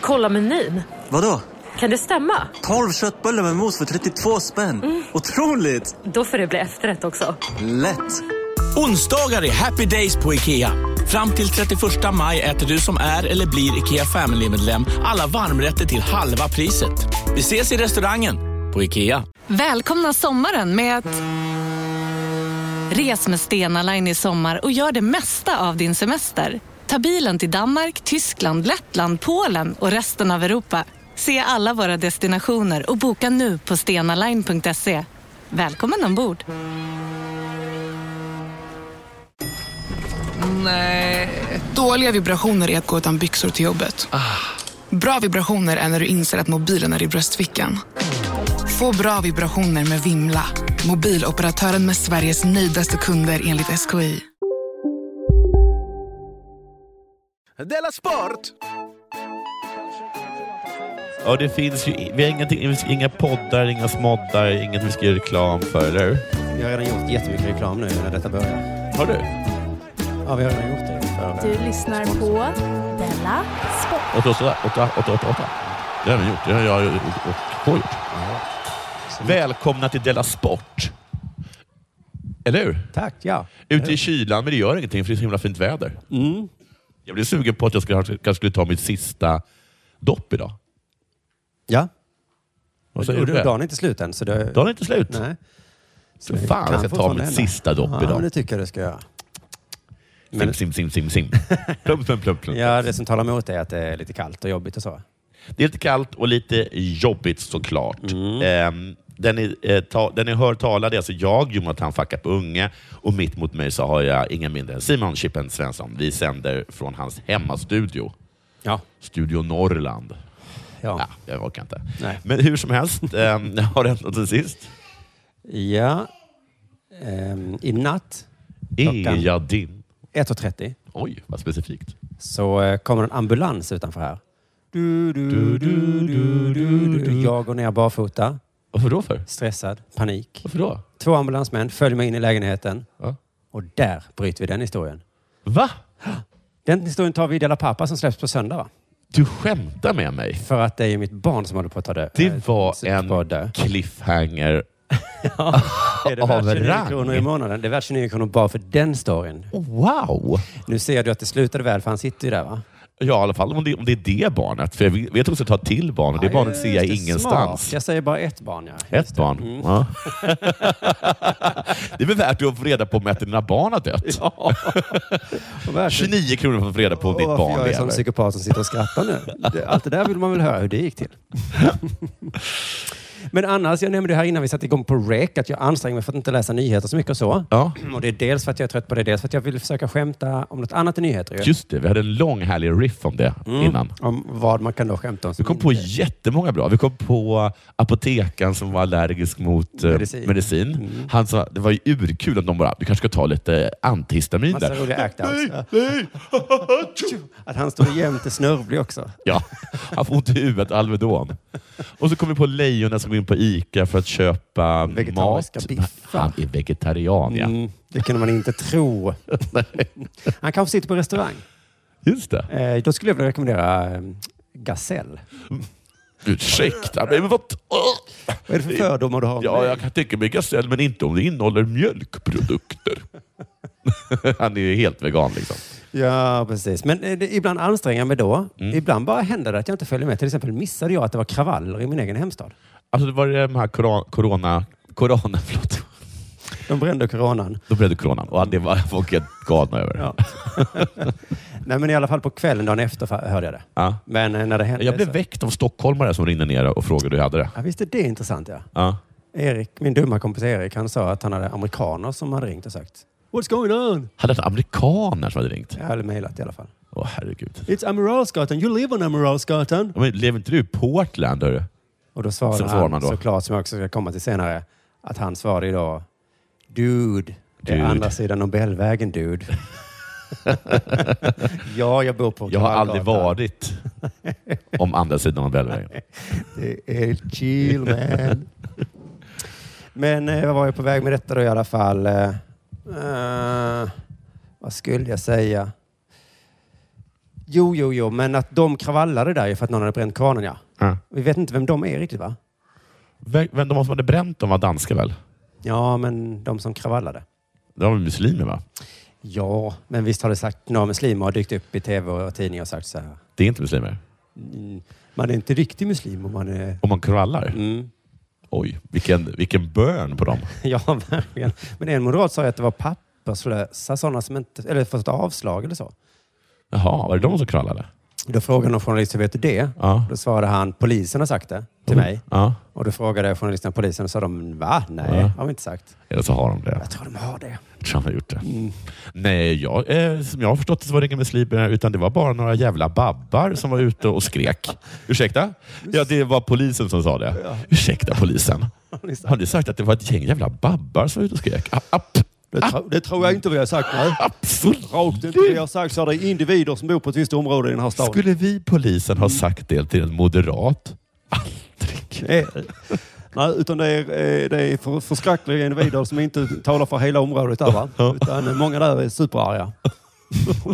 Kolla menyn. Vadå? Kan det stämma? 12 köttbullar med mos för 32 spänn. Otroligt! Då får det bli efterrätt också. Lätt! Onsdagar är happy days på IKEA. Fram till 31 maj äter du som är eller blir IKEA Family-medlem alla varmrätter till halva priset. Vi ses i restaurangen på IKEA. Välkomna sommaren med att... Res med Stena Line i sommar och gör det mesta av din semester. Ta bilen till Danmark, Tyskland, Lettland, Polen och resten av Europa. Se alla våra destinationer och boka nu på stenaline.se. Välkommen ombord! Dåliga vibrationer är att gå utan byxor till jobbet. Bra vibrationer är när du inser att mobilen är i bröstfickan. Få bra vibrationer med Vimla. Mobiloperatören med Sveriges nöjdaste kunder enligt SKI. Della Sport! Ja, det finns ju vi har ingenting, inga poddar, inga smoddar, inget vi ska göra reklam för, eller hur? Jag har redan gjort jättemycket reklam nu när detta börjar. Har du? Ja, vi har redan gjort det. För, Du lyssnar på Della Sport. 88, 88. Det har vi gjort. Det har jag gjort och K gjort. Välkomna till Della Sport. Eller hur? Tack, ja. Ute i kylan, men det gör ingenting för det är så himla fint väder. Mm. Jag blev sugen på att jag skulle, kanske skulle ta mitt sista dopp idag. Ja. Vad Och säger du? Dagen Dagen är inte slut än, så det... är inte slut. Nej. Så Så det fan, kan jag ska ta fortfarande mitt hända. sista dopp ja, idag. men det tycker jag du ska göra. Sim, sim, sim, sim, sim. plum, plum, plum, plum. Ja, det som talar emot är att det är lite kallt och jobbigt och så. Det är lite kallt och lite jobbigt såklart. Mm. Ehm, den, är, eh, ta, den är hör talad är alltså jag, Jonathan Fackat på Unge, och mitt mot mig så har jag ingen mindre än Simon Chippen Svensson. Vi sänder från hans hemmastudio, Ja. Studio Norrland. Ja. Ja, jag orkar inte. Nej. Men hur som helst, ehm, har det hänt något sen sist? ja. Ehm, I natt, Är Klockan. jag din? 1.30, Oj, vad specifikt. så eh, kommer en ambulans utanför här. Du, du, du, du, du, du, du. Jag går ner barfota, Varför då för? stressad, panik. Varför då? Två ambulansmän följer mig in i lägenheten Ja. och där bryter vi den historien. Va? Den historien tar vi i Della Pappa som släpps på söndag va? Du skämtar med mig? För att det är ju mitt barn som håller på att ta död. Det var Så- en på att dö. cliffhanger. Är det värt av 29 rang. kronor i månaden? Det är värt 29 kronor bara för den storyn. Wow! Nu ser du att det slutade väl för han sitter ju där va? Ja, i alla fall om det, om det är det barnet. För jag vet att de ska ta ett till barn och det barnet ser jag Just det, ingenstans. Smart. Jag säger bara ett barn ja. Just Ett det. barn. Mm. Ja. det är väl värt att få reda på om ett av dina barn har dött. Och värt- 29 kronor för att få reda på om ditt Och varför barn jag är som lever. psykopat som sitter och skrattar nu. Det- Allt det där vill man väl höra hur det gick till. Men annars, jag nämnde det här innan vi satte igång på REC, att jag anstränger mig för att inte läsa nyheter så mycket och så. Ja, Och det är dels för att jag är trött på det, dels för att jag vill försöka skämta om något annat än nyheter. Ju. just det. Vi hade en lång härlig riff om det Mm. innan. Om vad man kan då skämta om. Vi kom på jättemånga bra. Vi kom på apotekaren som var allergisk mot eh, Medicin. Mm. medicin. Han sa, det var ju urkul om de bara, du kanske ska ta lite antihistamin Massa där. roliga act Nej, outs. nej! Att han står jämt och snörvlig också. Ja, han får ont i huvudet, Alvedon. Och så kom vi på lejonen som går in på ICA för att köpa Vegetariska mat. biffar. Han är vegetarian, ja. Mm, det kunde man inte tro. han kanske sitter på restaurang. Just det. Eh, då skulle jag vilja rekommendera eh, gasell. Ursäkta mig, men vad... Åh! Vad är det för fördomar du har om Ja, mig? jag kan tänka mig gasell, men inte om det innehåller mjölkprodukter. Han är ju helt vegan liksom. Ja, precis. Men eh, det, ibland anstränger jag mig då. Mm. Ibland bara händer det att jag inte följer med. Till exempel missade jag att det var kravaller i min egen hemstad. Alltså, det var det de här corona... corona corona, förlåt. De brände coronan. Då blev det coronan och det var folk helt galna över. Ja. Nej, men i alla fall på kvällen dagen efter fa- hörde jag det. Ja. Men eh, när det hände... Jag blev så- väckt av stockholmare som ringde ner och frågade hur jag hade det. Ja, visst är det intressant ja. Ja. Erik, min dumma kompis Erik, han sa att han hade amerikaner som hade ringt och sagt What's going on? Hade det amerikaner som hade ringt? Jag hade mejlat i alla fall. Åh herregud. It's Amiralsgatan. You live on Amiralsgatan. Ja, Men lever inte du i Portland? Hörru? Och då svarade Sen han, svarar man då. såklart, som jag också ska komma till senare, att han svarade ju då Dude, det är Dude. andra sidan Nobelvägen dude. ja, jag bor på Jag har aldrig Kallgatan. varit om andra sidan av Bellvägen. Det är chill man. Men eh, vad var jag på väg med detta då i alla fall? Eh, eh, vad skulle jag säga? Jo, jo, jo, men att de kravallade där är för att någon hade bränt kvarnen, ja. Ja. Vi vet inte vem de är riktigt, va? Vem, vem- de som hade bränt dem var danskar väl? Ja, men de som kravallade. De var väl muslimer va? Ja, men visst har det sagt några muslimer har dykt upp i tv och tidningar och sagt så här. Det är inte muslimer. "Mm, Man är inte riktig muslim om man är... Om man krallar? Mm. Oj, vilken, vilken burn på dem. Ja, verkligen. Men en moderat sa ju att det var papperslösa, sådana som inte... Eller fått avslag eller så. Jaha, var det de som krallade? Då frågade någon journalist, hur vet du det? Ja. Då svarade han, polisen har sagt det till mig. Ja. Och då frågade jag journalisten polisen och sa de, va? Nej, Ja. har vi inte sagt. Eller så har de det. Jag tror de har det. Jag tror han har gjort det. Nej, jag, eh, som jag har förstått det så var det inga muslimer, utan det var bara några jävla babbar som var ute och skrek. Ursäkta? Ja, det var polisen som sa det. Ursäkta polisen. Har ni sagt att det var ett gäng jävla babbar som var ute och skrek? Ah, app, Det, tror jag inte vi har sagt. Nej. absolut. Rakt inte vi har sagt så är det individer som bor på ett visst område i den här staden. Skulle vi polisen ha sagt det till en moderat? Aldrig. Nej, Eh, Nej, utan det är, eh, det är för, förskräckliga individer som inte talar för hela området där va? Utan eh, många där är superarga.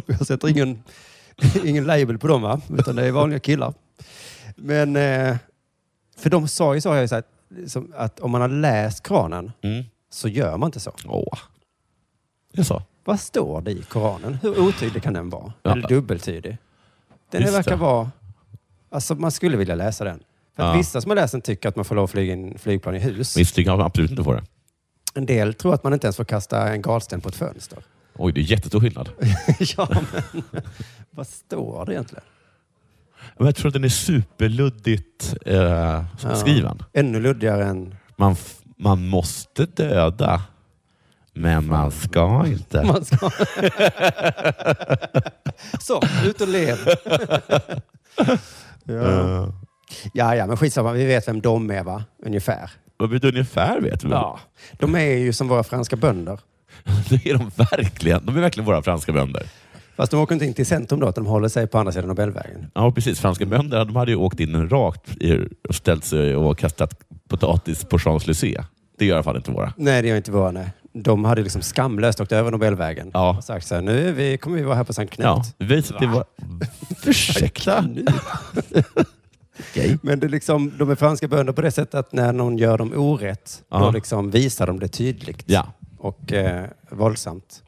Jag sätter ingen, ingen label på dem va? Utan det är vanliga killar. Men, eh, för de sa ju så, har jag ju sagt, som att om man har läst Koranen Mm. så gör man inte så. Åh. Det är så. Vad står det i Koranen? Hur otydlig kan den vara? Ja. Eller dubbeltydig? Den Just verkar det. vara... Alltså man skulle vilja läsa den. För att Ja. Vissa som har läst den tycker att man får lov att flyga in flygplan i hus. Visst tycker jag absolut inte på det. En del tror att man inte ens får kasta en galsten på ett fönster. Oj, det är jättestor skillnad. ja, men vad står det egentligen? Men jag tror att den är superluddigt eh, skriven. Ännu luddigare än... Man, f- man måste döda, men man ska inte. Man ska... Så, ut och lev. ja. Eh, ja, ja, men skitsamma. Vi vet vem de är, va? Ungefär. Vad betyder ungefär vet vi väl? Ja. De är ju som våra franska bönder. Det är de verkligen. De är verkligen våra franska bönder. Fast de åker inte in till centrum då, utan de håller sig på andra sidan Nobelvägen. Ja, precis. Franska bönder de hade ju åkt in rakt i- och ställt sig och kastat potatis på Champs-Élysées. Det gör i alla fall inte våra. Nej, det gör inte våra. Nej. De hade liksom skamlöst åkt över Nobelvägen. Ja. Och sagt så här, nu är vi, kommer vi vara här på Sankt Knut. Ja, vi, det var... Ursäkta? Men det är liksom, de är franska bönder på det sättet att när någon gör dem orätt, Ja. då liksom visar de det tydligt Ja. och eh, våldsamt.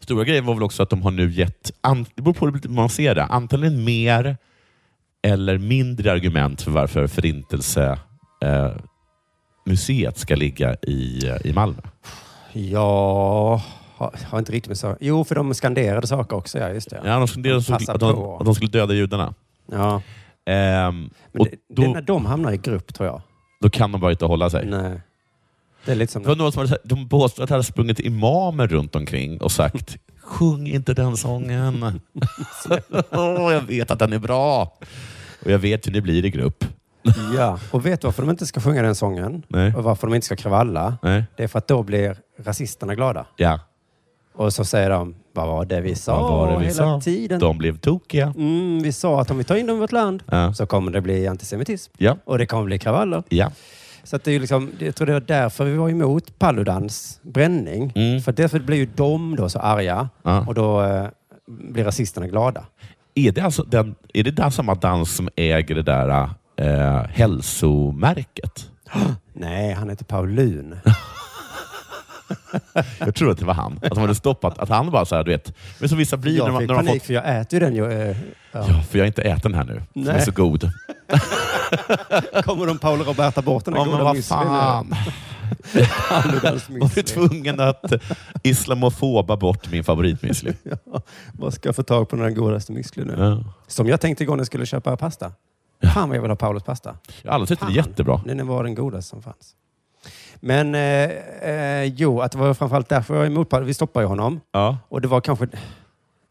Stora grejen var väl också att de har nu gett, an- det beror på hur man ser det, antingen mer eller mindre argument för varför Förintelse eh, museet ska ligga i, eh, i Malmö. Ja, har, har inte riktigt med saker. Jo, för de skanderade saker också. Ja, just det. Ja, de skulle, de, Passa att, de, på. att de skulle döda judarna. Ja. Ehm, Men och det, det är då, när de hamnar i grupp, tror jag. då kan de bara inte hålla sig. Nej. Det är lite som... Det var någon som hade, sagt- de påstod att det hade sprungit imamer runt omkring och sagt Sjung inte den sången. Åh, jag vet att den är bra. Och jag vet hur det blir i grupp. Ja, och vet du varför de inte ska sjunga den sången? Nej. Och varför de inte ska kravalla? Nej. Det är för att då blir rasisterna glada. Ja. Och så säger de, vad var det vi sa Vad var det vi hela sa? tiden? De blev tokiga. Mm, vi sa att om vi tar in dem i vårt land Ja. så kommer det bli antisemitism. Ja. Och det kommer bli kravaller. Ja. Så att det är ju liksom, jag tror det var därför vi var emot Paludans bränning. Mm. För därför blir ju de då så arga Ja. och då eh, blir rasisterna glada. Är det, alltså den, är det där samma dans som äger det där eh, hälsomärket? Nej, han heter Paulun. Jag tror att det var han. Att de hade stoppat. Att han bara så här, du vet. Men som vissa blir när Jag man, fick när man panik fått... för jag äter ju den. ju, eh, Ja, för jag har inte ätit den här nu. Den är Nej. så god. Kommer de Paul och Roberta bort den här Ja, men goda vad müslin? fan. Paludans Jag var müsli. tvungen att islamofoba bort min favoritmüsli. Ja, vad ska jag få tag på den här godaste müsli nu? Ja. Som jag tänkte igår när jag skulle köpa pasta. Fan vad jag vill ha Paulos pasta. Jag har aldrig sett den Fan. jättebra. Den var den godaste som fanns. Men eh, eh, jo, att det var framförallt därför jag var emot Paolo. Vi stoppade ju honom. Ja. Och det var kanske...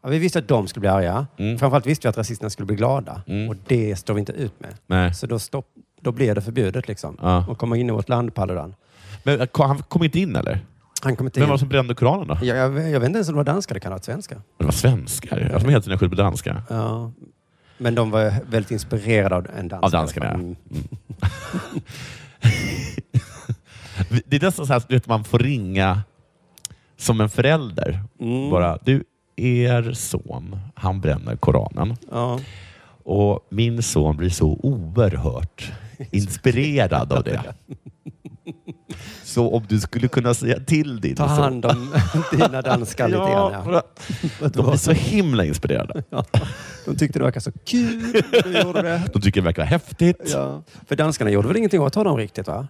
Ja, vi visste att de skulle bli arga. Mm. Framförallt visste vi att rasisterna skulle bli glada. Mm. Och det står vi inte ut med. Nej. Så då, stopp, då blev det förbjudet liksom. Ja. Och komma in i vårt land, Paludan. Men eh, han kom inte in eller? Han kom inte Vem in. var det som brände Koranen då? jag, jag, jag vet inte ens om det var danskar. Det kan ha varit svenskar. Det var svenskar. Jag som hela tiden skyller på danskar. Ja. Men de var väldigt inspirerade av en dansk. Av danskarna, ja. Mm. Mm. Det är nästan så här, du vet, man får ringa som en förälder. Bara, du, er son, han bränner Koranen. Ja. Och min son blir så oerhört inspirerad av det. Så om du skulle kunna säga till din Ta son- hand om dina danskar lite Ja, grann. för Ja. att De blir så himla inspirerade. Ja. De tyckte det verkade så kul. Du gjorde det. De tycker det verkar häftigt. Ja. För danskarna gjorde väl ingenting åt honom riktigt va?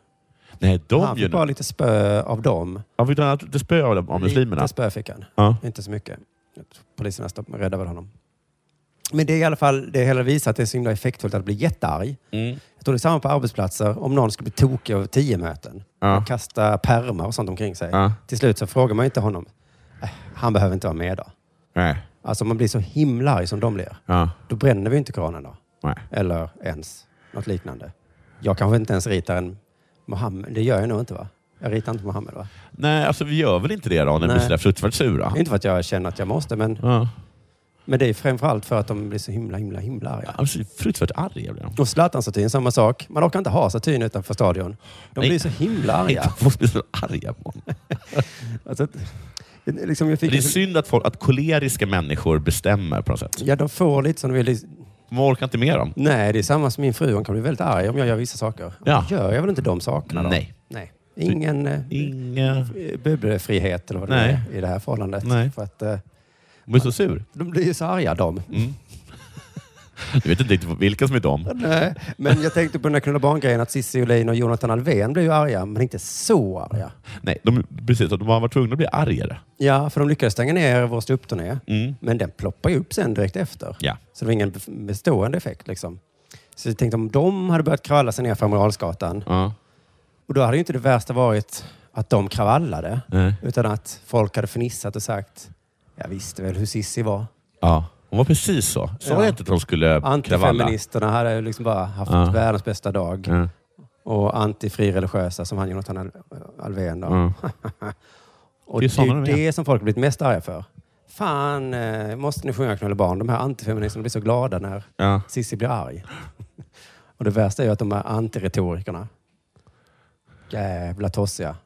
Nej, Han de fick gör bara bara... lite spö av dem. Han fick ta lite spö av de- av muslimerna. Lite spö fick han. Ja. Inte så mycket. Poliserna stopp- räddade väl honom. Men det är i alla fall, det hela visar att det är så himla effektfullt att bli jättearg. Mm. Jag tror det är samma på arbetsplatser. Om någon skulle bli tokig över tio möten. Ja. och Kasta pärmar och sånt omkring sig. Ja. Till slut så frågar man inte honom. "Äh, Han behöver inte vara med då. Nej. Alltså om man blir så himla arg som de blir. Ja. Då bränner vi inte Koranen då. Nej. Eller ens något liknande. Jag kanske inte ens ritar en Mohammed. Det gör jag nog inte va? Jag ritar inte Mohammed va? Nej, alltså vi gör väl inte det då när vi blir Nej. sådär fruktansvärt sura? Inte för att jag känner att jag måste men, Ja. men det är framförallt för att de blir så himla, himla, himla arga. Alltså, fruktansvärt arga blir de. Och Zlatan-statyn, samma sak. Man orkar inte ha statyn utanför stadion. De Nej. blir så himla Nej, arga. de måste bli så arga på honom. Alltså, liksom jag För fick Det är synd att, folk, att koleriska människor bestämmer på något sätt. ja, de får lite som de vill. Man orkar inte med dem. Nej, det är samma som min fru. Hon kan bli väldigt arg om jag gör vissa saker. Ja. Gör jag väl inte de sakerna då? Nej. Nej. Ingen... eh, Inga... bubbelfrihet eller vad det Nej. är i det här förhållandet. Nej. För att, eh, De är så sur. de blir ju så arga de. Jag vet inte riktigt vilka som är dem. Nej, Eh, men jag tänkte på den där Knulla barn-grejen att Cissi Ullin och Jonathan Alvén blir ju arga, men inte så arga. Nej, de, precis. De har varit tvungna att bli argare. Ja, för de lyckades stänga ner vår ståuppturné, Mm. men den ploppar ju upp sen direkt efter. Ja. Så det var ingen bestående effekt. Liksom. Så jag tänkte om de hade börjat kravalla sig ner för Amiralsgatan, Ja. och då hade ju inte det värsta varit att de kravallade, Nej. utan att folk hade fnissat och sagt, jag visste väl hur Cissi var. ja. Hon var precis så. Sa Ja. jag inte att de skulle kravalla? Antifeministerna hade liksom bara haft Ja. världens bästa dag. Ja. Och antifrireligiösa som han Jonathan Al- Alvén. Då. Ja. Och Det är det är sådana ju de är. det som folk har blivit mest arga för. Fan, eh, måste ni sjunga Knulla barn? De här antifeministerna blir så glada när Ja. Cissi blir arg. Och det värsta är ju att de här antiretorikerna. Jävla tossiga.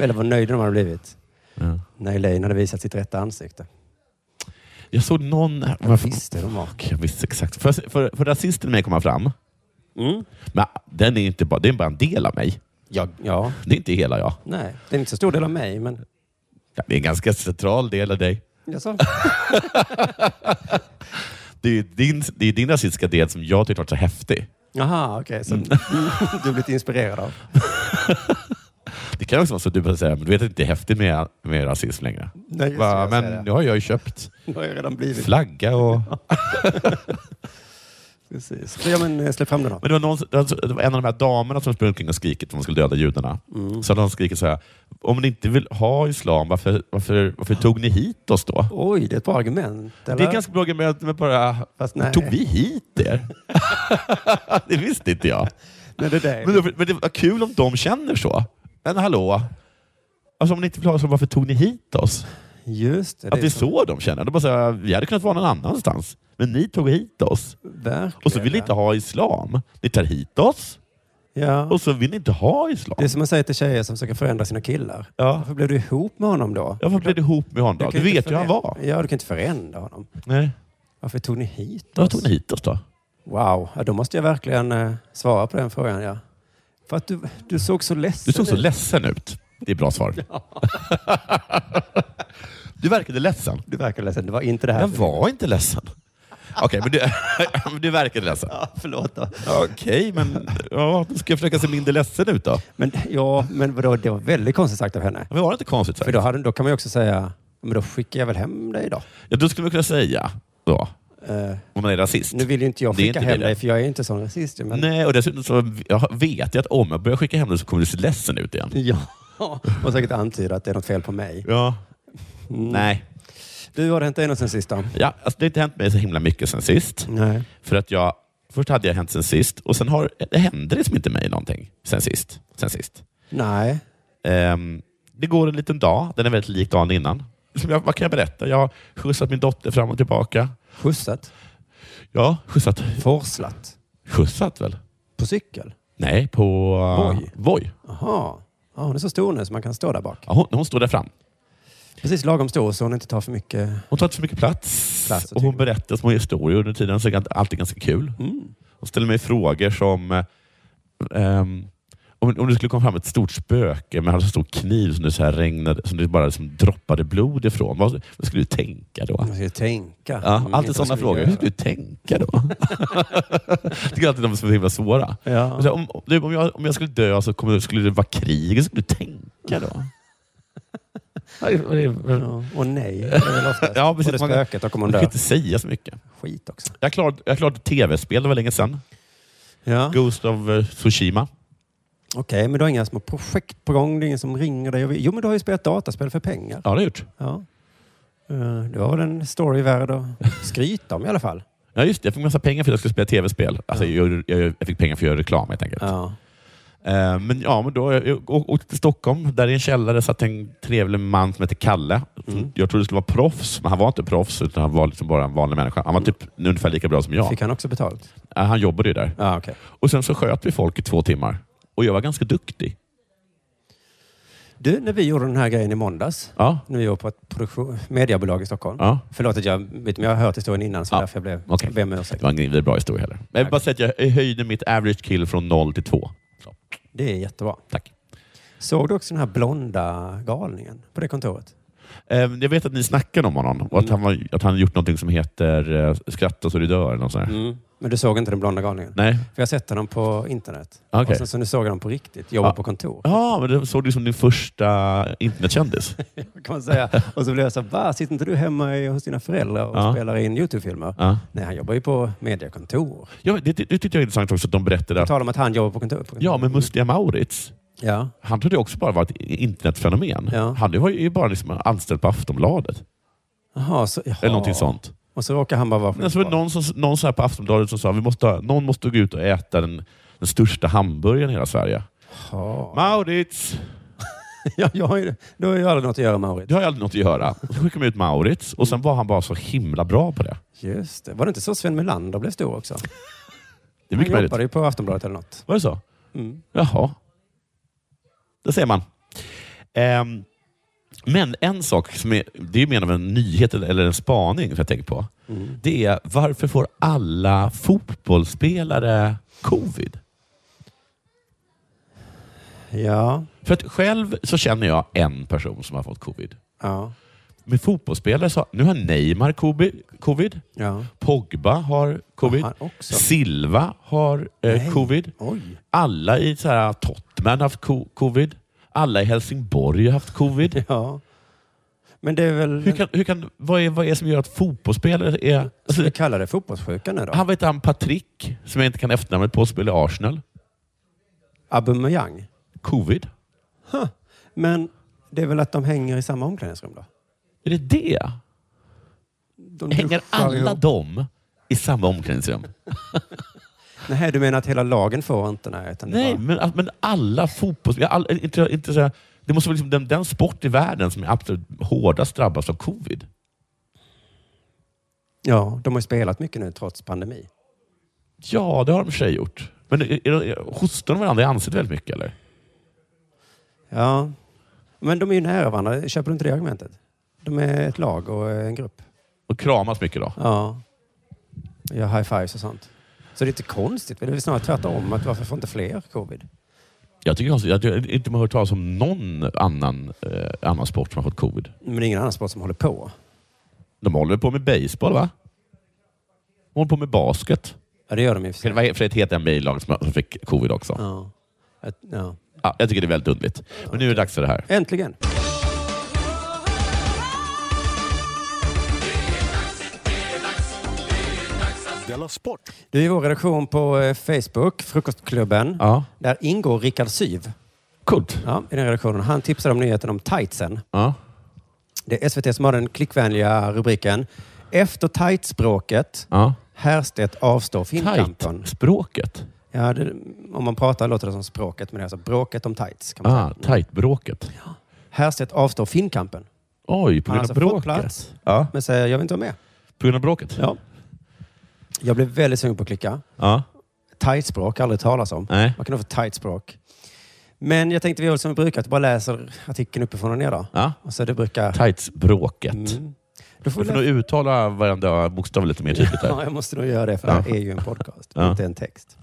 Eller vad nöjda de hade blivit. Ja. När Elaine hade visat sitt rätta ansikte. Jag såg någon... Vad visste de om? Jag visste exakt. För, för, för rasisten i mig komma fram. Men ah, den är inte bara, det är bara en del av mig. Mm. Ja, ja, Det är inte hela jag. nej. Det är inte så stor del av mig, men... Ja, Det är en ganska central del av dig. Jaså? Det är ju din, det är ju din rasistiska del som jag tyckte var så häftig. Jaha, okej. så du har blivit inspirerad av. Det kan ju också vara så att du bara säger, men du vet att det inte är häftigt med, med rasism längre. Nej, just Va, det, jag men säger nu har jag ju köpt det. har jag redan blivit. flagga och... Precis. Så, ja, men eh, släpp fram den då. Men det var, någon, det var en av de här damerna som sprang omkring och skrikit att de skulle döda judarna. Mm. Så hade de skrikit så här, om ni inte vill ha islam, varför, varför, varför tog ni hit oss då? Oj, det är ett bra argument. Eller? Det är ganska bra med men bara, Fast nej. tog vi hit er? det visste inte jag. Nej, det där. Men, det- men det var kul om de känner så. Men hallå, alltså om ni inte vill ha islam, varför tog ni hit oss? Just det. Att det är är så de känner. De bara så här, vi hade kunnat vara någon annanstans, men ni tog hit oss. Verkligen. Och så vill ni inte ha islam. Ni tar hit oss, Ja. och så vill ni inte ha islam. Det är som man säger till tjejer som försöker förändra sina killar. Ja. Varför blev du ihop med honom då? Ja, varför blev du ihop med honom då? Du kan ju vet inte ju hur han förändra- var. Ja, du kan inte förändra honom. Nej. Varför tog ni hit Då oss? tog ni hit oss då. Wow, ja, då måste jag verkligen eh, svara på den frågan. Ja. För att du, du såg så ledsen Du såg så ut. ledsen ut. Det är bra svar. Du verkade ledsen. Du verkar ledsen. Det var inte det här. Jag för- var inte ledsen. Okej, men du, men du verkade ledsen. Ja, förlåt då. Okej, men ja, då ska jag försöka se mindre ledsen ut då. Men, ja, men vadå, det var väldigt konstigt sagt av henne. Men var det inte konstigt? För sagt? då, hade, då kan man ju också säga, men då skickar jag väl hem dig då. Eh, Ja, då skulle man kunna säga då, om man är rasist. Nu vill ju inte jag Det är skicka inte hem det. dig, för jag är inte sån rasist. ju, Men... Nej, och dessutom så jag vet jag att om jag börjar skicka hem dig så kommer du se ledsen ut igen. Ja, och säkert antyda att det är något fel på mig. Ja. Nej. Du, har det hänt dig något sen sist då? Ja, alltså det har inte hänt mig så himla mycket sen sist. Nej. För att jag, först hade jag hänt sen sist och sen har, det hände liksom inte mig någonting sen sist. Sen sist. Nej. Ehm, det går en liten dag, den är väldigt lik dagen innan. Som jag, vad kan jag berätta? Jag har skjutsat min dotter fram och tillbaka. Skjutsat? Ja, skjutsat. Forslat? Skjutsat väl? På cykel? Nej, på eh, Voi. Voi. Jaha. Ja, hon är så stor nu så man kan stå där bak. Ja, hon, hon står där fram. Precis lagom stor så hon inte tar för mycket. Hon tar inte för mycket plats, Plats, jag och hon tycker. berättar små historier under tiden, så det är alltid ganska kul. Hon ställer mig frågor som eh, ehm, om, om det skulle komma fram ett stort spöke med en stor kniv som det, så här regnade, som det bara liksom droppade blod ifrån. Vad, vad skulle du tänka då? Man ska ju tänka. Ja, Man alltid vet sådana vad som frågor. Hur göra. ska du tänka då? jag tycker alltid de är så himla svåra. Ja. Och Så, här, om, du, om, jag, om jag skulle dö så kommer, skulle det vara krig. Hur skulle du tänka då? Ja, det- det- Ja, och nej. det är väl oftast. Ja, precis. Och det Man kan- spöket, då kommer Man kan hon dö. inte säga så mycket. Skit också. Jag klarade, jag klarade tv-spel, det var länge sedan. Ja. Okej, Ghost of eh, Tsushima. men du har inga små projekt på gång? Det är ingen som ringer dig? och vill- Jo, men du har ju spelat dataspel för pengar. Ja, det har jag gjort. Ja. Eh, Det var väl en story värd att skryta om i alla fall. Ja, just det. Jag fick massa pengar för att jag skulle spela tv-spel. Alltså, jag, jag, jag fick pengar för att göra reklam helt enkelt. Ja. Eh, men ja, men då, jag jag å- åkte till Stockholm. Där i en källare satt en trevlig man som hette Kalle. Jag trodde det skulle vara proffs, men han var inte proffs. Utan han var liksom bara en vanlig människa. Han var typ ungefär lika bra som jag. Fick han också betalt? Eh, Han jobbade ju där. Ja, okej. Och Sen så sköt vi folk i två timmar. Och jag var ganska duktig. Du, när vi gjorde den här grejen i måndags, Ja, när vi var på ett produktion, mediebolag i Stockholm. ja. Förlåt att jag, vet, men jag har hört historien innan så Ja, därför jag blev, okej. ber om Det ursäkt. var ingen vidare bra historia heller. Men jag vill bara säga att jag höjde mitt average kill från 0 till 2. Så, Det är jättebra. tack. Såg du också den här blonda galningen på det kontoret? Eh, Jag vet att ni snackade om honom och att han, var, att han gjort någonting som heter eh, Skratta så du dör. Eller något sånt där. Men du såg inte den blonda galningen? Mm. Nej? För jag har sett honom på internet. Okej. Och sen så nu såg jag honom på riktigt, jobba Ja. på kontor. Ja, men det såg du som din första internetkändis. Kan man säga. Och så blev jag så här, va? Sitter inte du hemma i- hos dina föräldrar och Ja. spelar in YouTube-filmer? ja. Nej, han jobbar ju på mediekontor. Ja, men det, det, det tyckte jag var intressant också att de berättade. På Att, tal om att han jobbar på kontor. På kontor. ja, men Mustiga Maurits, Ja. han trodde jag också bara var ett internetfenomen. Ja. Han var ju bara liksom anställd på Aftonbladet. Jaha, så, jaha. Eller någonting sånt. Alltså, Och så råkar han bara vara Men så var det någon, som, någon så här på Aftonbladet som sa att måste, ha- någon måste gå ut och äta den, den största hamburgaren i hela Sverige. Jaha. Maurits! Ja, jag har ju, då har jag aldrig något att göra med Maurits. Det har jag aldrig något att göra. Och Så skickade man ut Maurits och sen var han bara så himla bra på det. Just det. Var det inte så Sven Melander blev stor också? Det är Han mycket möjligt. jobbade ju på Aftonbladet eller något. Var det så? Mm. Jaha. Det ser man. Ehm, men en sak som är, det är ju mer av en nyhet eller eller en spaning som jag tänker på. Mm. Det är varför får alla fotbollsspelare covid? Ja. För att själv så känner jag en person som har fått covid. Ja. Med fotbollsspelare så nu har Neymar covid- covid. Ja. Pogba har covid. Han också. Silva har eh, Nej. covid. Oj. Alla i så här, Tottenham har haft co- covid. Alla i Helsingborg har haft covid. Ja. Men det är väl... Hur kan, hur kan, vad, är, vad är det som gör att fotbollsspelare är... Alltså, Ska vi kalla det fotbollssjuka nu då? han vet han Patrick, som jag inte kan efternamnet på, spelar i Arsenal. Aubameyang. Covid. Men det är väl att de hänger i samma omklädningsrum då? Är det det? De Hänger duschar alla ihop. dem i samma omklädningsrum? Nej, du menar att hela lagen får inte? Nej, utan det Nej, bara... men, alltså, men alla fotbollsspelare... All, inte, inte så här, det måste vara liksom den, den sport i världen som är absolut hårdast drabbas av covid. Ja, de har ju spelat mycket nu trots pandemi. Ja, det har de i och för sig gjort. Men är, är, är, hostar de varandra i ansiktet väldigt mycket eller? Ja. Men de är ju nära varandra. Köper du inte det argumentet? De är ett lag och en grupp. Och kramas mycket då? Ja. Gör high fives och sånt. Så det är inte konstigt. men Det är väl snarare tvärtom. Att varför får inte fler covid? Jag tycker konstigt att jag inte har hört talas om någon annan, eh, annan sport som har fått covid. Men det är ingen annan sport som håller på. De håller väl på med baseball va? De håller på med basket. Ja, det gör de ju. för sig. Det var för ett helt NBA-lag som som fick covid också. Ja. Ja. Ett- ja. jag tycker det är väldigt underligt. Men nu är det dags för det här. Äntligen! Della Sport. Du är vår redaktion på eh, Facebook, Frukostklubben. Ja, Där ingår Rickard Syv coolt. ja, i den redaktionen. Han tipsade om nyheten om tightsen. Ja. Det är SVT som har den klickvänliga rubriken. Efter tightspråket Ja. härstedt avstår filmkampen. Tight-språket. Ja, det, om man pratar låter det som språket, men det är alltså bråket om tights. Kan man Ah, säga. tight-bråket. Härstedt avstår filmkampen. Oj, på grund Han har alltså av fått bråket. plats, Ja. men säger jag vill inte vara med. På grund av bråket? Ja. Jag blev väldigt sugen på att klicka. Ja. Tightspråk, aldrig talas om. Nej. Vad kan det vara för tightspråk? Men jag tänkte vi gör som vi brukar, att bara läser artikeln uppifrån och ner. Då. Ja. Och så det brukar... Tights-bråket. Mm. Då får Du vi får nog läsa- uttala varenda bokstav lite mer tydligt. ja, Här. jag måste nog göra det, för Ja. det här är ju en podcast, Ja. inte en text.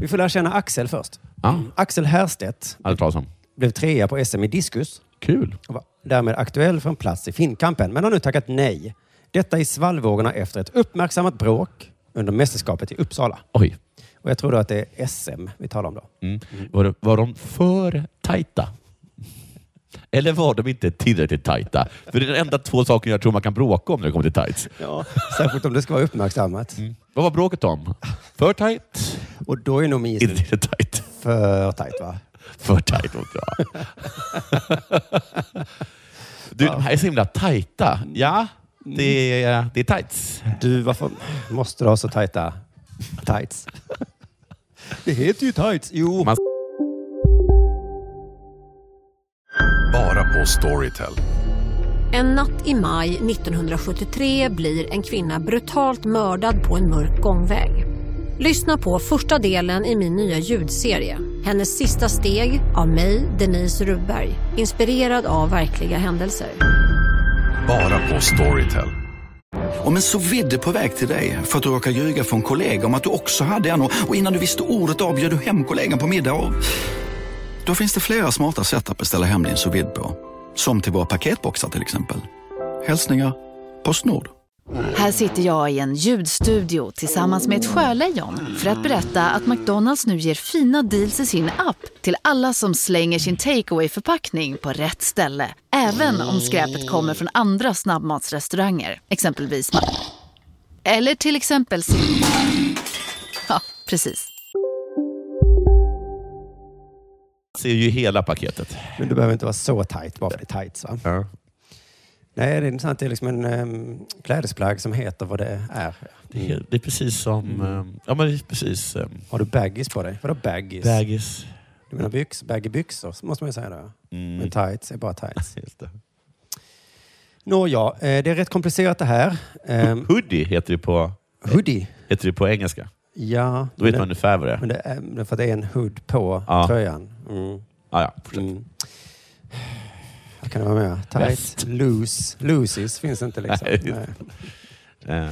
Vi får lära känna Axel först. Ja, Axel Härstedt Allt talas om. blev trea på SM i diskus Kul. och var därmed aktuell för en plats i finkampen, men har nu tackat nej. Detta i svallvågorna efter ett uppmärksammat bråk under mästerskapet i Uppsala. Oj. Och jag tror då att det är SM vi talar om då. Mm. Var, det, var de för tajta? Eller var de inte tillräckligt tajta? För det är de enda två saker jag tror man kan bråka om när det kommer till tights. Ja. Mm. Särskilt om det ska vara uppmärksammat. Vad var bråket om? För tajt? Och då är nog min Inte gissning tillräckligt tajt. för tajt va? För tajt och bra. Du, de här är så himla tajta. Ja, det är, det är tights. Du, varför måste du ha så tajta tights? Det heter ju tights. Jo. Man- Bara på Storytel. En natt i maj 1973 blir en kvinna brutalt mördad på en mörk gångväg. Lyssna på första delen i min nya ljudserie. Hennes sista steg av mig, Denise Rubberg. Inspirerad av verkliga händelser. Bara på Storytel. Om en så vidde på väg till dig för att du råkar ljuga från kollega om att du också hade en och och innan du visste ordet av bjöd du hem kollegan på middag och... Då finns det flera smarta sätt att beställa hem din sous vide på. Som till våra paketboxar till exempel. Hälsningar Postnord. Här sitter jag i en ljudstudio tillsammans med ett sjölejon för att berätta att McDonalds nu ger fina deals i sin app till alla som slänger sin takeaway förpackning på rätt ställe. Även om skräpet kommer från andra snabbmatsrestauranger, exempelvis Ma- Eller till exempel Sim- Ja, precis. ser ju hela paketet. Men du behöver inte vara så tajt bara för det är tights va? Ja. Nej, det är intressant. Det är liksom en um, klädesplagg som heter vad det är. Det, är, det är precis som... ehm, Ja, men det är precis... ehm, Har du baggies på dig? Vadå baggies? Baggies. du menar byx, baggy byxor, så måste man ju säga då. Mm. Men tights är bara tights. Just det. Nåja, eh, det är rätt komplicerat det här. Ehm, Hoodie heter det på, hoodie. heter det på engelska. Ja, Då vet men, man ungefär vad det är. men det är för att det är en hood på Ja. tröjan. Mm. Ah, ja, fortsätt. Mm. Vad kan det vara med? Tight, Väst. loose. Loosies finns inte liksom. Nej. Nej. Eh,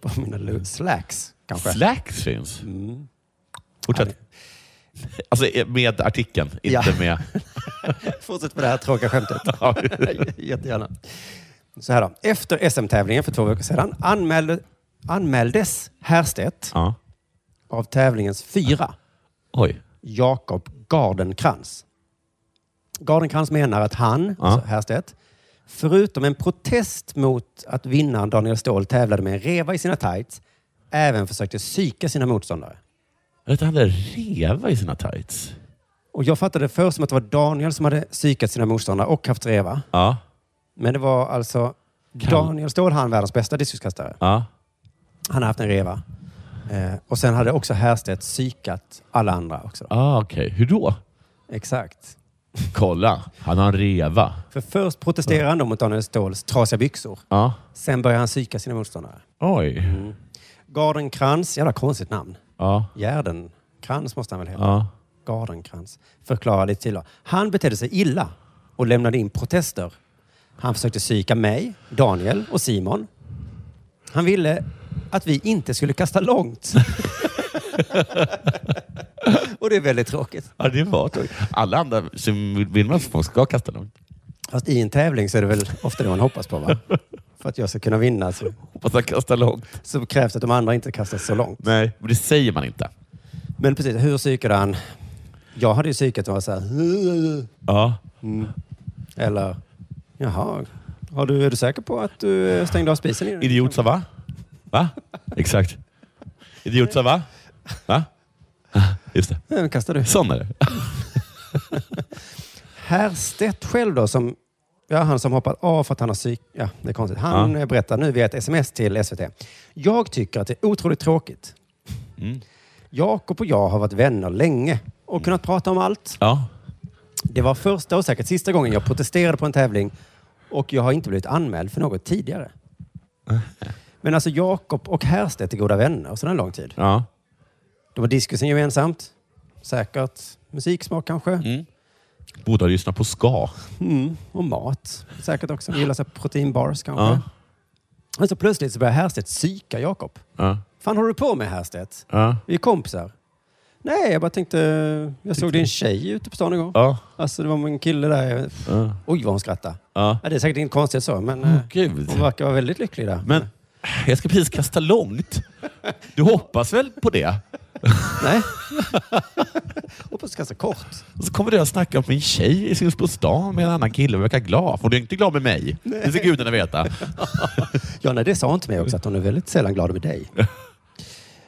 På mina loose. Slacks kanske. slacks finns. Mm. Fortsätt. Alltså eh, med artikeln, inte Ja. med... Fortsätt med det här tråkiga skämtet. Jättegärna. Så här då. Efter SM-tävlingen för två veckor sedan anmälde, anmäldes Härstedt Ja. av tävlingens fyra, Oj. Jakob Gardenkrans. Gardenkrans menar att han, Ja. alltså Härstedt, förutom en protest mot att vinnaren Daniel Ståhl tävlade med en reva i sina tights, även försökte psyka sina motståndare. Att han hade reva i sina tights. Och jag fattade det först som att det var Daniel som hade psykat sina motståndare och haft reva. Ja. Men det var alltså Daniel Ståhl, han världens bästa diskuskastare. ja. Han har haft en reva. Eh, och sen hade också Härstedt psykat alla andra också. Då. Ah, Okej, hur då? Exakt. Kolla, han har en reva. För först protesterar han då mot Daniel Ståhls trasiga byxor. Ja. Sen börjar han psyka sina motståndare. Oj. Gardenkrans, jävla konstigt namn. Ja. Gärdenkrans måste han väl heta? Ja. Gardenkrans. Förklara lite till då. Han betedde sig illa och lämnade in protester. Han försökte psyka mig, Daniel och Simon. Han ville att vi inte skulle kasta långt. och det är väldigt tråkigt. ja, det var tråkigt. Alla andra som vill vinna så folk ska kasta dem. Fast i en tävling så är det väl ofta det man hoppas på va? För att jag ska kunna vinna så, Hoppas han kastar långt. så krävs det att de andra inte kastar så långt. Nej, men det säger man inte. Men precis, hur psykade han? Jag hade ju psykat och var så här... Ja. Eller, jaha, har du, är du säker på att du eh, stängde av spisen? innan? Idiot sa va? Va? Exakt. Idiot sa va? Va? Ah, Just det. Nej, men kastar du. Sån är det. Härstedt själv då, som, ja, han som hoppat av för att han har psyk... Ja, det är konstigt. Han eh, berättar nu via ett sms till SVT. Jag tycker att det är otroligt tråkigt. Jakob och jag har varit vänner länge och kunnat prata om allt. Ja. Det var första och säkert sista gången jag protesterade på en tävling och jag har inte blivit anmäld för något tidigare. Men alltså Jakob och Härstedt är goda vänner sedan en lång tid. Ja. De har diskusen gemensamt. säkert musiksmak kanske. Mm. Borde ha lyssnat på ska. Mm, och mat. Säkert också. Gillar sig proteinbars kanske. Ja. Men så plötsligt så börjar Härstedt psyka Jakob. Ja. fan håller du på med Härstedt? Ja. Vi är kompisar. Nej, jag bara tänkte... Jag såg din tjej ute på stan igår. Ja. Alltså det var en kille där. Ja. Oj vad hon skrattade. Ja. Ja, det är säkert inte konstigt så, men eh, Gud. hon verkar vara väldigt lycklig där. Men jag ska precis kasta långt. Du hoppas väl på det? Nej. Hoppas kasta kort. Och så kommer du att snacka om min tjej i syns på stan med en annan kille och verkar glad. Hon är inte glad med mig. Det ska gudarna veta. Ja, nej, det sa hon till mig också, att hon är väldigt sällan glad med dig.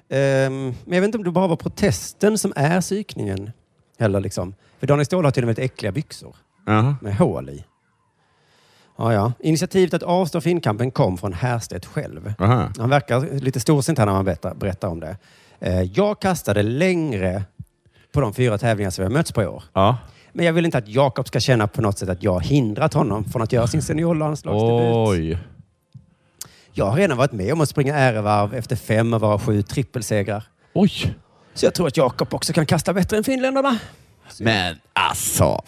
Ehm, men jag vet inte om det bara var protesten som är psykningen. Heller liksom. För Daniel Ståhl har till och med väldigt äckliga byxor Ja. med hål i. Ja, ja. Initiativet att avstå från inkampen kom från Härstedt själv. Aha. Han verkar lite storsint här när han berättar, berättar om det. Eh, jag kastade längre på de fyra tävlingar som vi har mötts på i år. Ja. Men jag vill inte att Jakob ska känna på något sätt att jag har hindrat honom från att göra sin seniorlandslagsdebut. Oj. Jag har redan varit med om att springa ärevarv efter fem av våra sju trippelsegrar. Oj. Så jag tror att Jakob också kan kasta bättre än finländarna. Men alltså.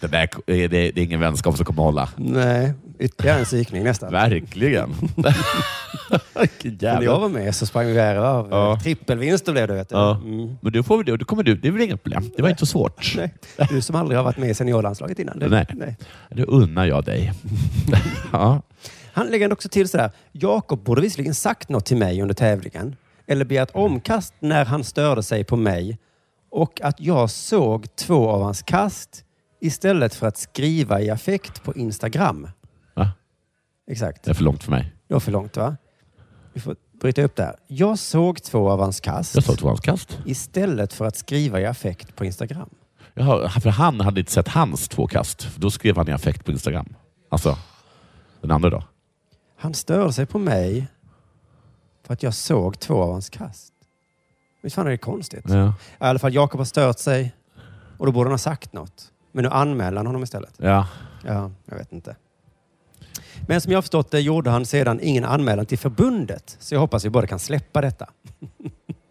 Det, där, det, det är ingen vänskap som kommer hålla. Nej, ytterligare en psykning nästan. Verkligen. Vilken När jag jävla... var med så sprang vi ärevarv. Ja. Trippelvinster blev det, vet du. Ja. Mm. Men då får vi det. Då kommer du. Det är väl inget problem. Det var inte så svårt. Nej. Du som aldrig har varit med i seniorlandslaget innan. Du. Nej. Det unnar jag dig. ja. Han lägger också till sådär. Jakob borde visserligen sagt något till mig under tävlingen eller begärt omkast när han störde sig på mig och att jag såg två av hans kast istället för att skriva i affekt på Instagram. Va? Exakt. Det är för långt för mig. Det var för långt va? Vi får bryta upp där. Jag såg två av hans kast Jag sa två hans kast. istället för att skriva i affekt på Instagram. Jaha, för han hade inte sett hans två kast. För Då skrev han i affekt på Instagram. Alltså, den andra då. Han störde sig på mig för att jag såg två av hans kast. Visst fan är det konstigt? Ja. I alla fall, Jakob har stört sig och då borde han ha sagt något. Men nu anmäler han honom istället. ja. Ja, jag vet inte. Men som jag har förstått det gjorde han sedan ingen anmälan till förbundet. Så jag hoppas vi båda kan släppa detta.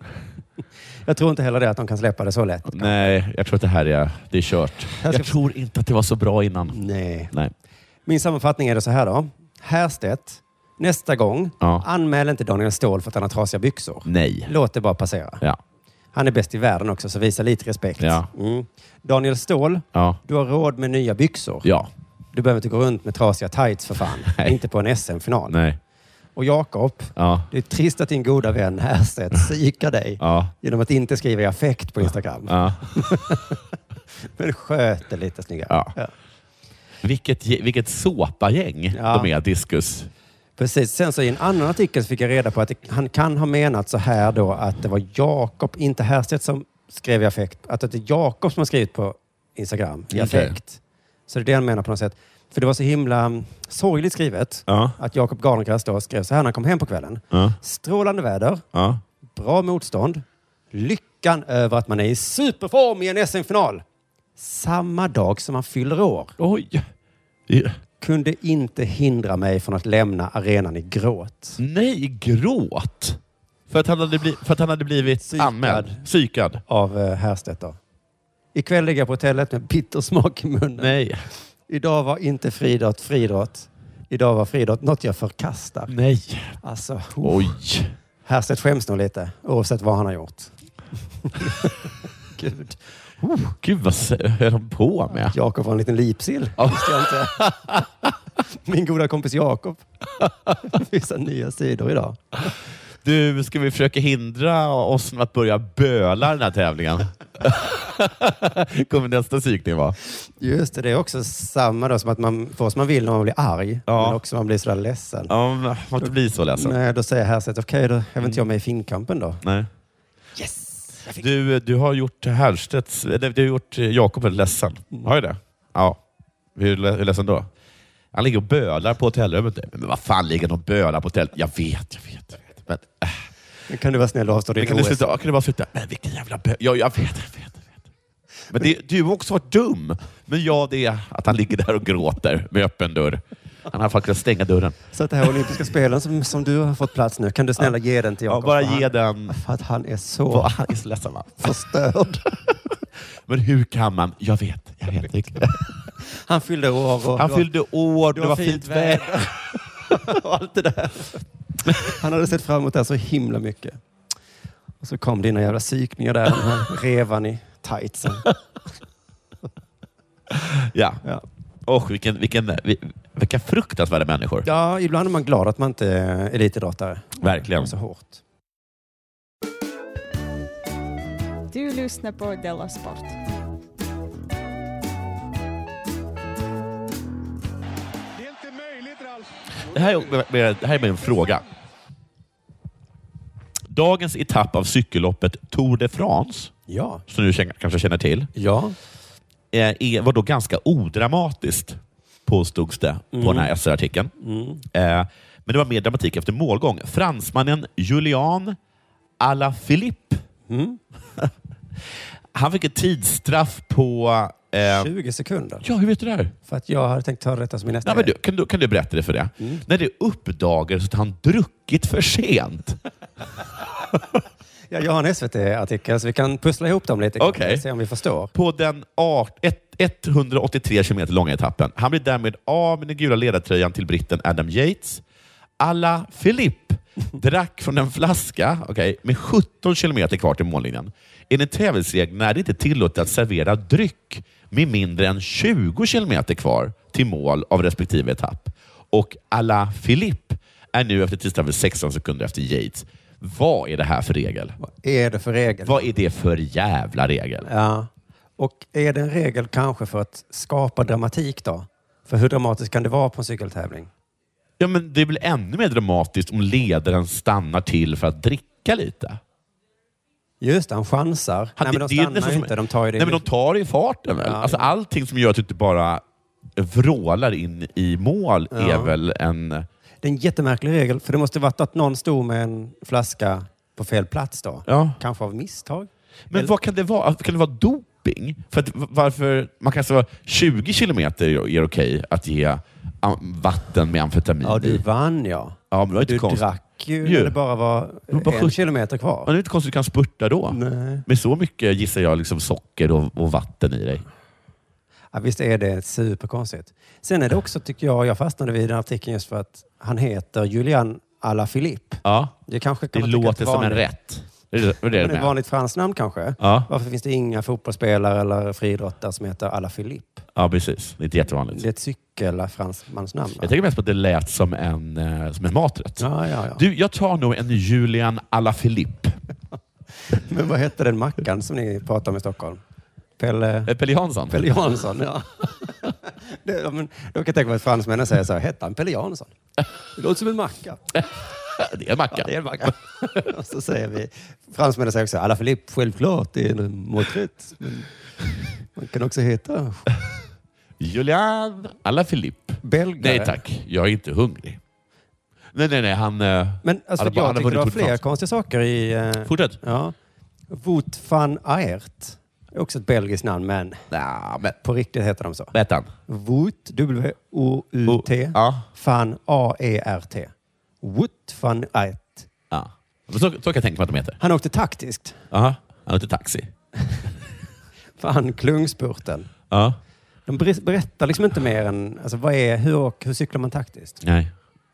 jag tror inte heller det att de kan släppa det så lätt. Nej, jag tror att det här är, det är kört. Jag, Jag ska- tror inte att det var så bra innan. Nej. Nej. Min sammanfattning är det så här då. Härstedt, nästa gång, Ja. anmäl inte Daniel Ståhl för att han har trasiga byxor. Nej. Låt det bara passera. Ja. Han är bäst i världen också, så visa lite respekt. Ja. Mm. Daniel Ståhl, Ja. du har råd med nya byxor. Ja. Du behöver inte gå runt med trasiga tights för fan. Nej. Inte på en SM-final. Nej. Och Jakob, Ja. det är trist att din goda vän Härstedt psykar dig Mm. Ja. genom att inte skriva i affekt på Instagram. Ja. Men sköt det lite snyggare. Ja. Vilket, ge- vilket såpagäng Ja. de är, Diskus. Precis. Sen så i en annan artikel så fick jag reda på att det, han kan ha menat så här då att det var Jakob, inte Härstedt, som skrev i affekt. Att det är Jakob som har skrivit på Instagram i Okej. affekt. Så det är det han menar på något sätt. För det var så himla mm, sorgligt skrivet Ja. att Jakob Gardencrantz då skrev så här när han kom hem på kvällen. Ja. Strålande väder, Ja. bra motstånd, lyckan över att man är i superform i en SM-final. Samma dag som man fyller år Oj. I- kunde inte hindra mig från att lämna arenan i gråt. Nej, gråt. För att han hade, bli, för att han hade blivit Psykad. anmäld. Psykad. av eh, Härstedt. Då. Ikväll ligger jag på hotellet med bitter smak i munnen. Nej. Idag var inte friidrott friidrott. Idag var friidrott något jag förkastar. Nej. Alltså, uff. Oj. Härstedt skäms nog lite, oavsett vad han har gjort. Gud. Gud, vad s- höll han på med? Jakob var en liten lipsill. Ja. Visste jag inte. Min goda kompis Jakob. Vissa nya sidor idag. Du, ska vi försöka hindra oss från att börja böla den här tävlingen? kommer nästa psykning vara. Just det, det är också samma då som att man får som man vill när man blir arg. Ja. Men också man blir sådär ledsen. Ja, men man får inte bli så ledsen. Nej, då säger Härstedt, okej, då är väl inte jag med i finkampen då. Nej. Yes! Du, du har gjort Härstedts, eller du har gjort Jakob väldigt ledsen. Har jag det? Ja. Hur le- hur ledsen då? Han ligger och bölar på hotellrummet. Men vad fan ligger han och bölar på hotellet? Jag vet, jag vet. Jag vet. Men, äh, Nu kan du vara snäll och avstå men din kan, du OS. sluta, kan du bara sluta? Men vilken jävla bö... Ja, jag vet, jag vet. jag vet. Men det, du har också varit dum. Men ja, det är att han ligger där och gråter med öppen dörr. Han har faktiskt stänga dörren. Så att det här olympiska spelen som, som du har fått plats nu, kan du snälla ge den till Jakob? Ja, bara För ge han- den... För att han är så Vad- Han är så ledsen va? förstörd. Men hur kan man? Jag vet, jag vet. inte. Han fyllde år. Och Han det var- fyllde år, det var fint väder. och allt det där. Han hade sett fram emot det här så himla mycket. Och så kom dina jävla psykningar där. Den här revan i tightsen. Ja. Ja. Och vilken, vilken, vil- vilka fruktansvärda människor. Ja, ibland är man glad att man inte är elitidrottare. Verkligen. Så hårt. Du lyssnar på Della Sport. Det här är, det här är min fråga. Dagens etapp av cykelloppet Tour de France, Ja. som du känner- kanske känner till, ja. eh, är, var då ganska odramatiskt, påstods det på den här SR-artikeln. Eh, Men det var mer dramatik efter målgång. Fransmannen Julian Alaphilippe. Han fick ett tidsstraff på... eh, 20 sekunder. Ja, hur vet du det här? För att jag hade tänkt ta detta som min nästa Nej, men du, kan, du, kan du berätta det för det? När det uppdagades att han druckit för sent. Ja, jag har en SVT-artikel så vi kan pussla ihop dem lite. Okej. Se om vi förstår. På den art, ett, 183 kilometer långa etappen. Han blir därmed av med den gula ledartröjan till britten Adam Yates. Alla Philippe drack från en flaska okay, med 17 kilometer kvar till mållinjen. Enligt tävlingsreglerna är det inte tillåtet att servera dryck med mindre än 20 kilometer kvar till mål av respektive etapp. Och alla Philippe är nu efter tisdagen 16 sekunder efter Yates. Vad är det här för regel? Är det för regel? Vad är det för jävla regel? Ja. Och är det en regel kanske för att skapa dramatik då? För hur dramatiskt kan det vara på en cykeltävling? Ja, men det blir ännu mer dramatiskt om ledaren stannar till för att dricka lite. Just det, han chansar. Han- Nej, men de det är stannar nästan ju som- inte. De tar ju det Nej, men de tar det i farten. Väl? Ja, alltså, allting som gör att du inte bara vrålar in i mål är Ja. väl en... Det är en jättemärklig regel, för det måste varit att någon stod med en flaska på fel plats då. Ja. Kanske av misstag. Men vad kan det vara? Alltså, Kan det vara doping? För att, varför, man kanske vara 20 kilometer är okej att ge am- vatten med amfetamin Ja, du i. vann ja. Ja, men det var inte Du konstigt. drack ju Ju. när det bara var var bara en sjut- kilometer kvar. Men det är inte konstigt att du kan spurta då. Nej. Med så mycket, gissar jag, liksom socker och, och vatten i dig. Ja, visst är det superkonstigt. Sen är det också, tycker jag, jag fastnade vid den artikeln just för att han heter Julian Alaphilippe. Ja, Det kanske det kan man tycka låter ett som en vanligt- rätt. Det är det, det, är det Men med. ett vanligt franskt namn kanske? Ja. Varför finns det inga fotbollsspelare eller friidrottare som heter Alaphilippe? Ja, precis. Det är inte jättevanligt. Det är ett cykel-fransmansnamn. va? Jag tänker mest på att det lät som en, eh, som en maträtt. Ja, ja, ja. Du, jag tar nog en Julian alla Philippe. Men vad hette den mackan som ni pratade om i Stockholm? Pelle... Eh, Pelle Jansson. Pelle Jansson, ja. Det, ja, men, då kan jag tänka mig att fransmännen säger så här, hette han Pelle Jansson? Det låter som en macka. Det är en macka. Det är en macka. Och så säger vi, fransmännen säger också, Alaphilippe, självklart, det är en maträtt. Men man kan också heta Julian alla Philippe. belgare. Nej tack, jag är inte hungrig. Nej, nej, nej. Han... eh, Men alltså, han har bara- han har jag tycker vunnit det Tour var de fler France. konstiga saker i... eh, Fortsätt. Ja. Wout van Aert. är Också ett belgiskt namn, men Nah, men på riktigt heter de så. vad heter han? Wout, W-O-U-T, Ja. van E A-E-R-T. Wout van Aert. ja. Men Så, så kan jag tänka mig att de heter. Han åkte taktiskt. Aha. Han heter Taxi. Fan, Klungspurten. Ja. De ber- berättar liksom inte mer än alltså, vad är, hur, och, hur cyklar man taktiskt. Nej.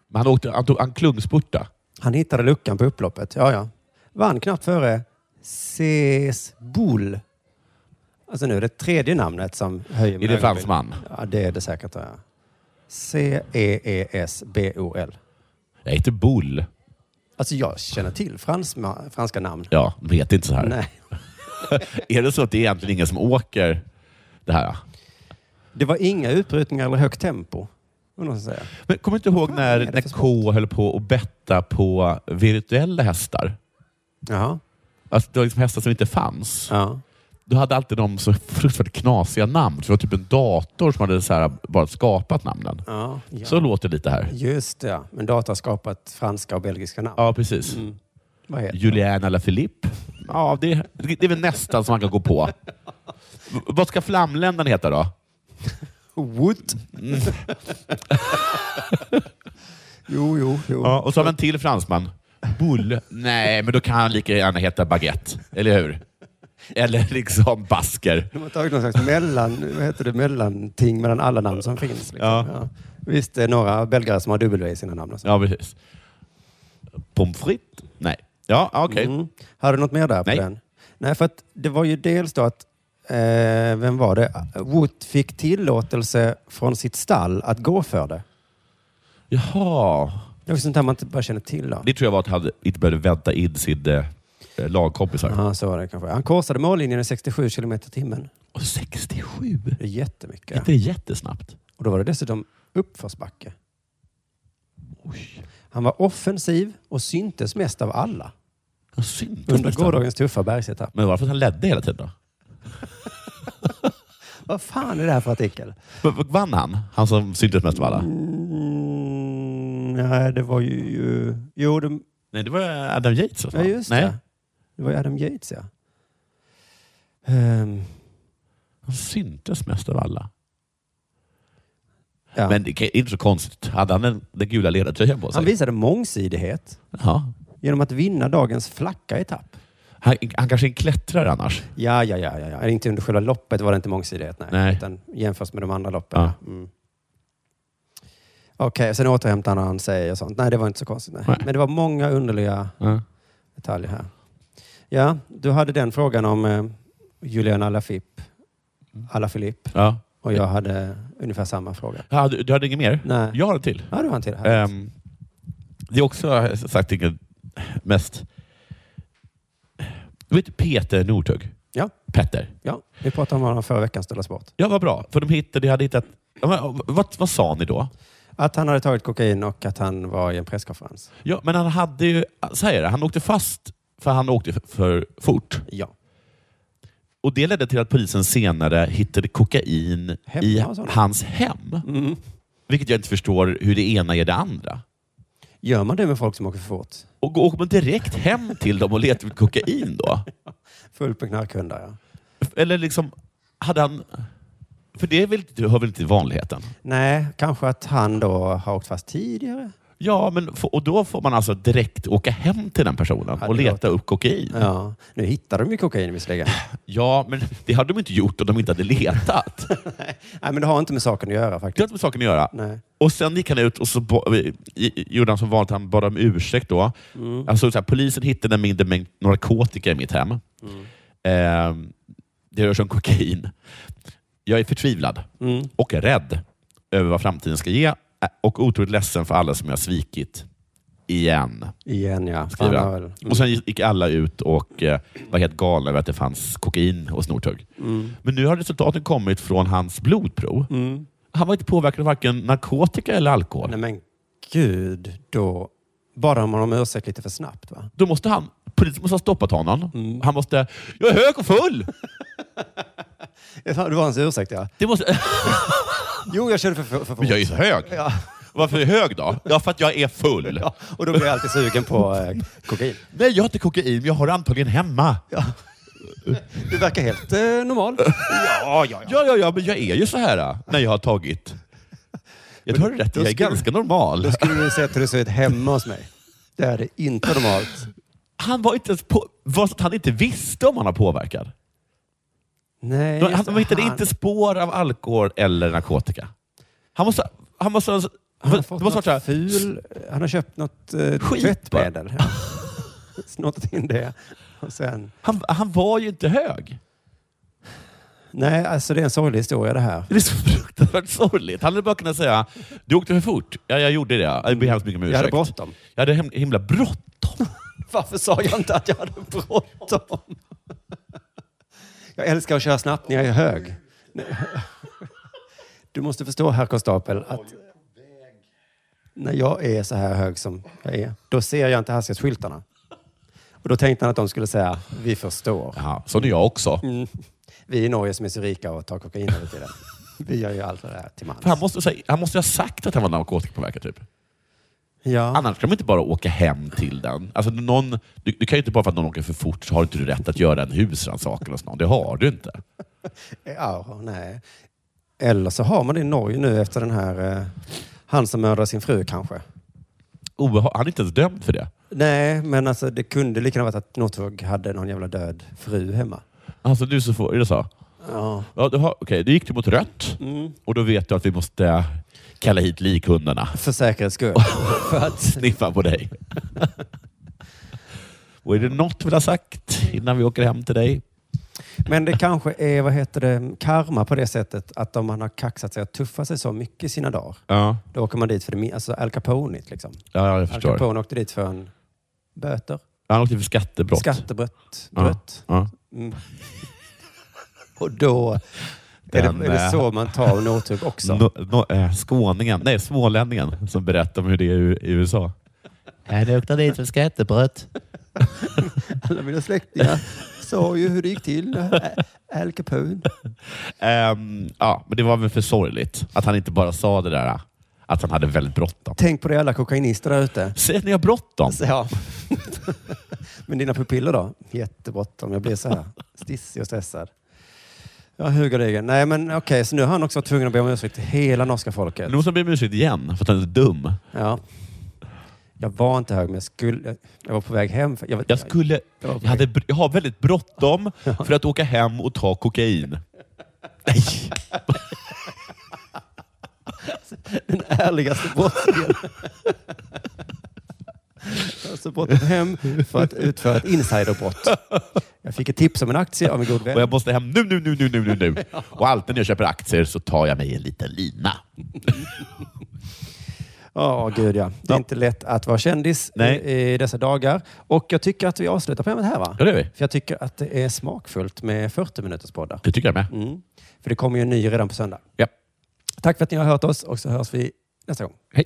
Men han, åkte, han, tog, han klungspurta. Han hittade luckan på upploppet. Ja, ja. Vann knappt före Ses Bull. Alltså nu är det tredje namnet som höjer Är mina det ögonbryn. fransman? Ja, det är det säkert. Ja. E C-E-E-S-B-O-L. Jag heter Bull. Alltså jag känner till fransma, franska namn. Ja, de heter inte så här. Nej. Är det så att det är egentligen ingen som åker det här? Det var inga utbrytningar eller högt tempo. vad någon ska säga. Men kommer du inte ihåg när, är det när för K höll på att betta på virtuella hästar? Jaha. Alltså, det var liksom hästar som inte fanns. Ja. Då hade alltid de så fruktansvärt knasiga namn. För det var typ en dator som hade så här bara skapat namnen. Ja, ja. Så låter det lite här. Just det, ja. Men data har skapat franska och belgiska namn. Ja, precis. Mm. Vad heter det? Julien eller Philippe. Ja, det, det är väl nästan som man kan gå på. V- Vad ska flamländaren heta då? Wood. Mm. jo, jo, jo. Ja, och så har vi en till fransman. Bull. Nej, men då kan han lika gärna heta Baguette. Eller hur? Eller liksom basker. De har tagit någon slags mellan, vad heter det, mellanting mellan alla namn som finns. Liksom. Ja. Visst, det är några belgare som har W i sina namn. Och så. Ja, precis. Pommes frites? Nej. Ja, ah, okej. Mm. Har du något mer där på Nej. den? Nej, för att det var ju dels då att, eh, vem var det? Wood fick tillåtelse från sitt stall att gå för det. Jaha. Det är också sånt här man inte bara känner till då. Det tror jag var att han inte behövde vänta in sin eh, lagkompisar. Ja, så var det kanske. Han korsade mållinjen i 67 kilometer i timmen. Och 67? Det är jättemycket. Inte jättesnabbt. Och då var det dessutom uppförsbacke. Han var offensiv och syntes mest av alla. Under mest av alla. gårdagens tuffa bergsetapp. Men varför att han ledde hela tiden då? Vad fan är det här för artikel? V- Vann han? Han som syntes mest av alla? Mm, nej, det var ju... Jo, det, Nej, det var Adam Yates. ja, just Nej. det. Det var ju Adam Yates, ja. Ehm, Han syntes mest av alla. Ja. Men det är inte så konstigt. Hade han den, den gula ledartröjan på sig? han visade mångsidighet ja. genom att vinna dagens flacka etapp. han, han kanske är en klättrare annars. Ja, ja, ja. ja, ja. Inte under själva loppet var det inte mångsidighet, nej. Nej. Utan jämfört med de andra loppen. Ja. Mm. Okej, sen återhämtar han sig och sånt. Nej, det var inte så konstigt. Nej. Nej. Men det var många underliga Ja. detaljer här. Ja, du hade den frågan om eh, Julian Alaphilippe. Mm. Alaphilippe. Ja. Och jag hade ungefär samma fråga. Ja, du, du hade inget mer? Nej. Jag har en till. Ja, du har en till. Här. Ehm, det är också eh, som sagt inget mest... Du vet Peter Northug? Ja. Petter. Ja, vi pratade om honom förra veckan, Ställa Sport. Ja, vad bra. För de hittade, de hade hittat... Ja, men, eh, vad, vad sa ni då? Att han hade tagit kokain och att han var i en presskonferens. Ja, men han hade ju... Så här är det, han åkte fast för han åkte för- för fort. Ja. Och Det ledde till att polisen senare hittade kokain Hemma i hos honom? hans hem. Mm. Vilket jag inte förstår hur det ena ger det andra. Gör man det med folk som åker för fort? Och Åker man direkt hem till dem och letar efter kokain då? Fullt med knarkhundar, ja. Eller liksom, hade han... För det är väl, det hör väl inte till vanligheten? Nej, kanske att han då har åkt fast tidigare. Ja, men, få- och då får man alltså direkt åka hem till den personen Ja, och det leta upp kokain. Ja. Nu hittar de ju kokain visserligen. Ja, men det hade de inte gjort om de inte hade letat. Nej, men det har inte med saken att göra Det har faktiskt. inte med saken att göra. Nej. Och sen gick han ut och så bo- i- i- gjorde han som vanligt, han bad om ursäkt då. Alltså, så här, polisen hittade en mindre mängd narkotika i mitt hem. Eh, det rör sig om kokain. Jag är förtvivlad Mm. och rädd över vad framtiden ska ge eh, och otroligt ledsen för alla som jag har svikit. Igen, Igen ja. skriver Fan, han. väl. Och sen gick alla ut och eh, var helt galna över att det fanns kokain hos Northug. Men nu har resultaten kommit från hans blodprov. Mm. Han var inte påverkad av varken narkotika eller alkohol. Nej men gud, då bara om man har ursäkt lite för snabbt va? Då måste han, polisen måste ha stoppat honom. Mm. Han måste, jag är hög och full! Det var hans ursäkt ja. Det måste, Jo, jag körde för, för, för fort. men jag är så hög. Varför är jag hög då? Ja, för att jag är full. Ja, och då blir jag alltid sugen på eh, kokain. Nej, jag har inte kokain, men jag har det antagligen hemma. Ja. Du verkar helt eh, normal. Ja, ja, ja, ja, men jag är ju så här äh, när jag har tagit. Jag tror du rätt, jag är skulle- ganska normal. Då skulle du sett hur det såg ut hemma hos mig. Det här är inte normalt. Han var inte ens på, var så att han inte visste om han var påverkad. Nej, De, han, Eh, just det. de hittade Han- inte spår av alkohol eller narkotika. Han måste, han måste, han Han har fått det måste något varit så här, ful... Han har köpt något eh, Skit, tvättmedel. Ja. Snott in det. Och sen... han, han var ju inte hög. Nej, alltså det är en sorglig historia det här. Det är så fruktansvärt sorgligt. Han hade bara kunnat säga, du åkte för fort. Ja, jag gjorde det. Jag ber hemskt mycket om Jag ursäkt. hade bråttom. Jag hade hem- himla bråttom. Varför sa jag inte att jag hade bråttom? Jag älskar att köra snabbt när jag är hög. Nej. Du måste förstå, herr konstapel, att när jag är så här hög som jag är, då ser jag inte hastighetsskyltarna. Och då tänkte han att de skulle säga, vi förstår. Ja, så är jag också. Mm. Vi i Norge som är så rika och tar kokain hela tiden. Vi gör ju allt det där till mans. För han, måste, säga- han måste ha sagt att han var narkotikapåverkad. Typ. Ja. Annars kan man inte bara åka hem till den. Alltså, någon, du, du kan ju inte bara för att någon åker för fort så har inte du rätt att göra en husrannsakan hos någon. Det har du inte. ja, nej. Eller så har man det i Norge nu efter den här, eh, han som mördade sin fru kanske. Obeha- han är inte ens dömd för det. Nej, men alltså det kunde lika gärna varit att Northug hade någon jävla död fru hemma. Alltså du så får, är det så? Ja. Mm. Ja, du har, okej, då gick du mot rött och då vet du att vi måste kalla hit likhundarna. För säkerhets skull. För att... Sniffa på dig. och är det något vi har sagt innan vi åker hem till dig? Men det kanske är, vad heter det, karma på det sättet att om man har kaxat sig och tuffat sig så mycket i sina dagar, Ja, då åker man dit för det min- alltså Al Capone liksom. ja jag Al förstår. Capone åkte dit för en böter. Han åkte för skattebrott. Skattebrott. Ja, Brott. ja. Mm. Och då är det, Den, är det så eh, man tar Northug också. No, no, eh, skåningen, nej smålänningen som berättar om hur det är i i USA. Han åkte dit för skattebrott. Alla mina släktingar sa ju hur det gick till. Ä- Al Capone. Ehm, ja, men det var väl för sorgligt att han inte bara sa det där att han hade väldigt bråttom. Tänk på det alla kokainister där ute. Säg att ni har bråttom. Så, ja. Men dina pupiller då? Jättebråttom. Jag blir så här stissig och stressad. Ja, hugardegen. Nej, men okej, så nu har han också varit tvungen att be om ursäkt till hela norska folket. Nu måste han be om ursäkt igen för att han är dum. Ja. Jag var inte hög, men jag, skulle, jag var på väg hem. för- Jag, Jag, skulle, jag, hade, br- jag har väldigt bråttom för att åka hem och ta kokain. Nej! den ärligaste brottslingen. Alltså brottet hem för att utföra ett insiderbrott. Jag fick ett tips om en aktie av en god Och vän. jag måste hem nu, nu, nu, nu, nu, nu, nu. Och alltid när jag köper aktier så tar jag mig en liten lina. Ja, gud ja. Det är inte lätt att vara kändis Nej. i, i dessa dagar. Och jag tycker att vi avslutar programmet här va? Ja, det gör vi. För jag tycker att det är smakfullt med 40 minuters poddar. Det tycker jag med. Mm. För det kommer ju en ny redan på söndag. Ja. Tack för att ni har hört oss och så hörs vi nästa gång. Hej.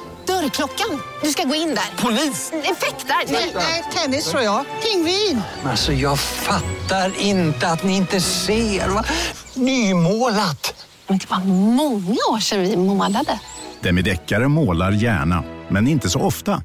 Dörrklockan. Du ska gå in där. Polis? Effektar? Nej, tennis tror jag. Pingvin. Alltså jag fattar inte att ni inte ser. Va? Nymålat. Men det var många år sedan vi målade. Demideckare målar gärna, men inte så ofta.